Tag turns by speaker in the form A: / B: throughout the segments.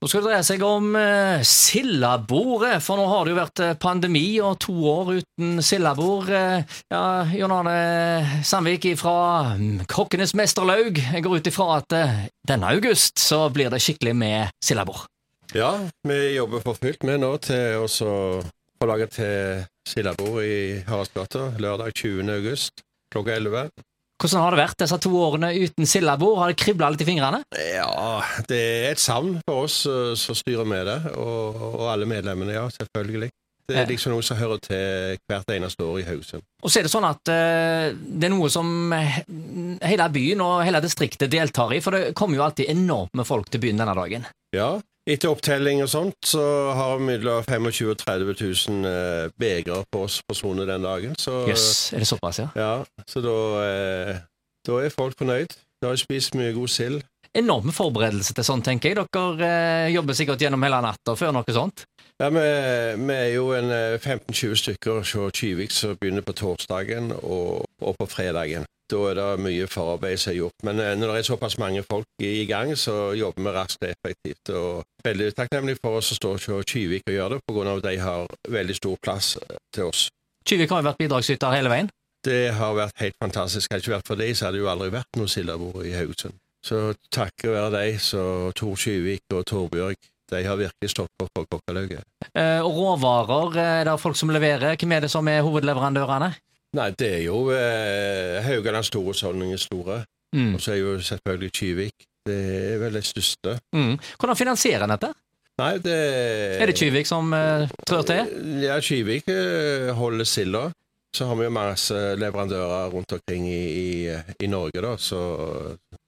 A: Nå skal det dreie seg om eh, sildabordet, for nå har det jo vært eh, pandemi og to år uten sildabord. Eh, ja, Jon Arne Sandvik fra Kokkenes mesterlaug, jeg går ut ifra at eh, denne august så blir det skikkelig med sildabord.
B: Ja, vi jobber for fullt med nå til å så få laget til sildabord i Haraldsgata lørdag 20. august klokka 11.
A: Hvordan har det vært disse to årene uten sildabord? Har det kribla litt i fingrene?
B: Ja, det er et savn for oss eh, som styrer med det, og, og alle medlemmene, ja, selvfølgelig. Det
A: Ja.
B: er liksom noe som hører til hvert eneste år i Haugesund.
A: Og så er det sånn at eh, det er noe som he- hele byen og hele distriktet deltar i, for det kommer jo alltid enormt med folk til byen denne dagen.
B: Ja, etter opptelling og sånt, så har vi mellom 25 000 og 30 000 eh, begre på oss personer den dagen, så
A: Jøss, er det såpass, ja?
B: Ja, så da, eh, da er folk fornøyd. Da har jeg spist mye god sild.
A: Enorme forberedelser til sånn, tenker jeg. Dere eh, jobber sikkert gjennom hele natta før noe sånt.
B: Ja, vi, vi er jo en eh, 15-20 stykker fra Kyvik som begynner på torsdagen og, og på fredagen. Da er det mye forarbeid som er gjort. Men eh, når det er såpass mange folk i i gang, så jobber vi raskt og effektivt. Og veldig takknemlig for oss som står fra Kyvik og gjør det, pga. at de har veldig stor plass eh, til oss.
A: Kyvik har jo vært bidragsyter hele veien.
B: Det har vært helt fantastisk. Hadde det ikke vært for dem, så hadde det jo aldri vært noe sildebord i Haugesund. Så takket være dem, så Tor Kyvik og Torbjørg, de har virkelig stått på for kokkelauget.
A: Eh, og råvarer eh, det er folk som leverer. Hvem er det som er hovedleverandørene?
B: Nei, det er jo eh, Haugaland Store Sonningen Store,
A: Mm.
B: og så er jo selvfølgelig Kyvik. Det er vel det største.
A: Mm. Hvordan finansierer en dette?
B: Nei, det
A: Er det Kyvik som eh, trør til?
B: Ja, Kyvik eh, holder silda. Så har vi jo masse leverandører rundt omkring i, i, i Norge, da, så,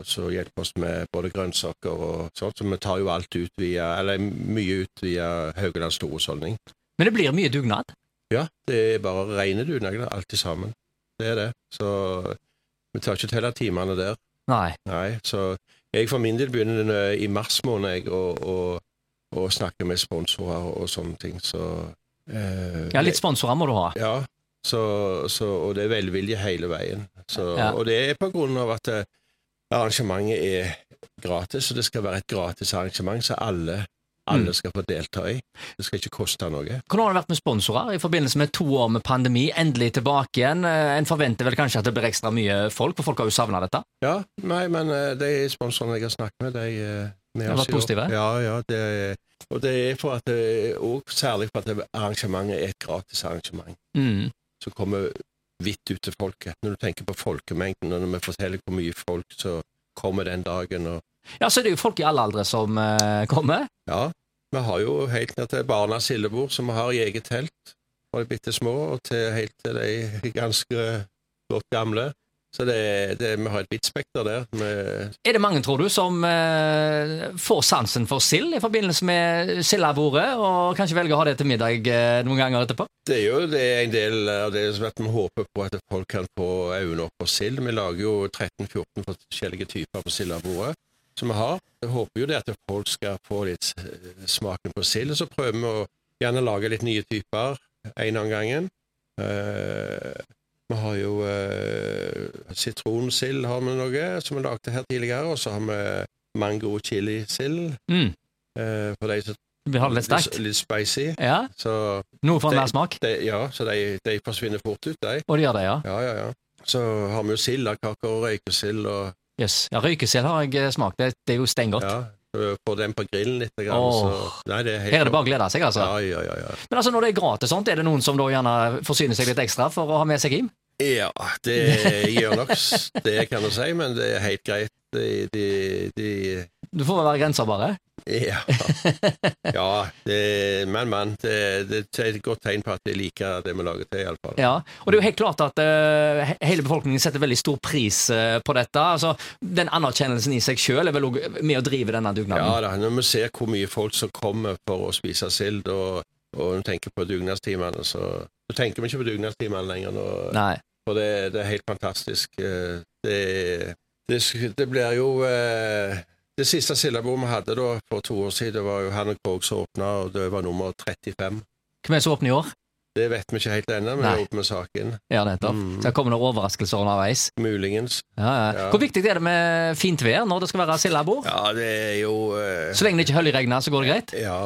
B: så hjelper oss med både grønnsaker og sånt. Så vi tar jo alt ut via, eller mye ut via Haugaland Storhusholdning.
A: Men det blir mye dugnad.
B: Ja, det er bare rene dunagler, alt til sammen. Det er det. Så vi tar ikke telle timene der.
A: Nei.
B: Nei, så jeg for min del begynner i mars måned jeg, å, å, å snakke med sponsorer og sånne ting. Så, eh,
A: Ja, litt sponsorer må du ha.
B: ja, så, så, og det er velvilje hele veien. Så,
A: Ja.
B: Og det er på grunn av at eh, arrangementet er gratis, og det skal være et gratis arrangement som alle,
A: Mm.
B: alle skal få delta i. Det skal ikke koste noe.
A: Hvordan har det vært med sponsorer i forbindelse med to år med pandemi? Endelig tilbake igjen. Eh, En forventer vel kanskje at det blir ekstra mye folk, for folk har jo savna dette.
B: Ja, nei, men eh, de sponsorene jeg har snakket med, de eh, med
A: Har
B: oss
A: vært
B: i år.
A: positive?
B: Ja, ja. Det, og det er for at det, og særlig for at det- arrangementet er et gratis arrangement
A: Mm.
B: som kommer vidt ut til folket. Når du tenker på folkemengden, og når vi forteller hvor mye folk som kommer den dagen og
A: Ja, så er det jo folk i alle aldre som eh, kommer.
B: Ja, vi har jo helt ned til barnas sildebord, som vi har i eget telt fra de bitte små, og til helt til de ganske godt gamle. Så det, det, vi har et vidt spekter der. med
A: Er det mange, tror du, som eh, får sansen for sild i forbindelse med sildabordet, og kanskje velger å ha det til middag eh, noen ganger etterpå?
B: Det er jo det er en del av det som at vi håper på at folk kan få øynene opp for sild. Vi lager jo 13-14 forskjellige typer på sildebordet som vi har. Jeg håper jo det at folk skal få litt eh, smaken på sild. og Så prøver vi å gjerne lage litt nye typer en av gangen. Eh, vi har jo eh, sitronsild har vi noe, som vi lagde her tidligere. Og så har vi mango-chili-sild,
A: Mm.
B: eh, for de som
A: Vi har det litt sterkt.
B: litt spicy.
A: Ja,
B: Så
A: Noe for
B: Det-
A: enhver smak.
B: de, ja, så de, de forsvinner fort ut, de.
A: Og det gjør det, ja.
B: Ja, ja, ja. Så har vi jo sildekaker og røykesild og
A: Yes. ja Røykesild har jeg eh, smakt. Det, det er jo steingodt.
B: ja, så Få den på grillen litt. Grann,
A: Åh.
B: så, nei, det er helt
A: Her er det bare å glede seg, altså.
B: Ja, ja, ja, ja.
A: Men altså, når det er gratis sånt, er det noen som da gjerne forsyner seg litt ekstra for å ha med seg hjem?
B: ja, det gjør nok s- det, kan du si, men det er helt greit. De, de, de
A: Du får vel være grenser, bare.
B: ja. ja det, men, men. Det, det er et godt tegn på at de liker det vi lager til, iallfall.
A: Ja, og det er jo helt klart at eh, he- hele befolkningen setter veldig stor pris eh, på dette. Altså, Den anerkjennelsen i seg sjøl er vel også med å drive denne dugnaden.
B: Ja da, når vi ser hvor mye folk som kommer for å spise sild, og, og når vi tenker på dugnadstimene, så, så tenker vi ikke på dugnadstimene lenger. Nå,
A: Nei.
B: for det, det er helt fantastisk. Eh, Det, det, sk- det blir jo eh, Det siste sildebordet vi hadde da for to år siden, var jo Hanne Krogh som åpna, og det var nummer 35.
A: Hvem er det som åpner i år?
B: Det vet vi ikke helt ennå, men
A: Nei.
B: vi jobber med saken.
A: Ja, nettopp.
B: Mm.
A: Så det kommer noen overraskelser underveis.
B: Muligens.
A: Ja, ja.
B: Ja.
A: Hvor viktig er det med fint vær når det skal være sildebord?
B: Ja, det er jo eh,
A: Så lenge det ikke høljregner, så går det greit?
B: Ja,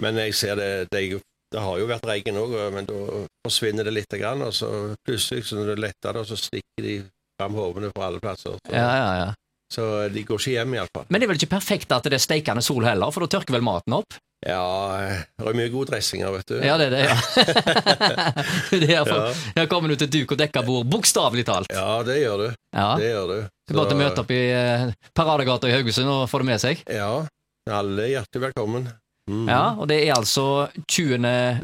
B: men jeg ser det Det, er jo- det har jo vært regn òg, men da forsvinner det litt. Grann, og så plutselig, så når det letter, da, så stikker de fram hodene på alle plasser. Så,
A: Ja, ja, ja.
B: så de går ikke hjem, iallfall.
A: Men det er vel ikke perfekt at det er steikende sol heller, for da tørker vel maten opp?
B: Ja, eh, det er mye gode dressinger, vet du.
A: Ja, det er det, ja. det er for,
B: Ja.
A: her kommer du til duk og dekka bord, bokstavelig talt.
B: Ja, det gjør du.
A: Ja.
B: Det gjør du.
A: Så bare til å møte opp i eh, Paradegata i Haugesund og få det med seg.
B: Ja. Alle er hjertelig velkommen. Mm.
A: Ja, Og det er altså 20.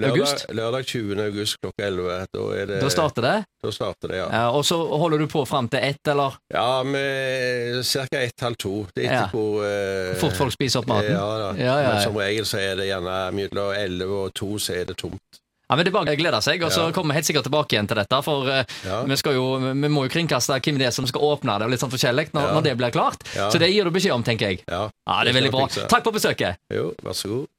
A: august.
B: Lørdag, lørdag 20. august klokka 11. Da, er det,
A: Da starter det.
B: da starter det, ja.
A: Ja, og så holder du på fram til ett, eller
B: Ja, med ca. ett, halv to. Det er
A: Ja.
B: ikke hvor eh,
A: fort folk spiser opp maten?
B: Ja, da.
A: Ja, ja,
B: Men
A: ja.
B: som regel så er det gjerne mellom 11 og 2 så er det tomt.
A: Ja, men Det er bare å glede seg, og så
B: Ja.
A: kommer vi helt sikkert tilbake igjen til dette. For eh,
B: Ja.
A: vi, skal jo, vi må jo kringkaste hvem det er som skal åpne det, og litt sånn forskjellig når,
B: Ja.
A: når det blir klart.
B: Ja.
A: Så det gir du beskjed om, tenker jeg.
B: Ja,
A: Ja, Det er veldig bra.
B: Det skal jeg fikse.
A: Takk for besøket.
B: jo, vær så god.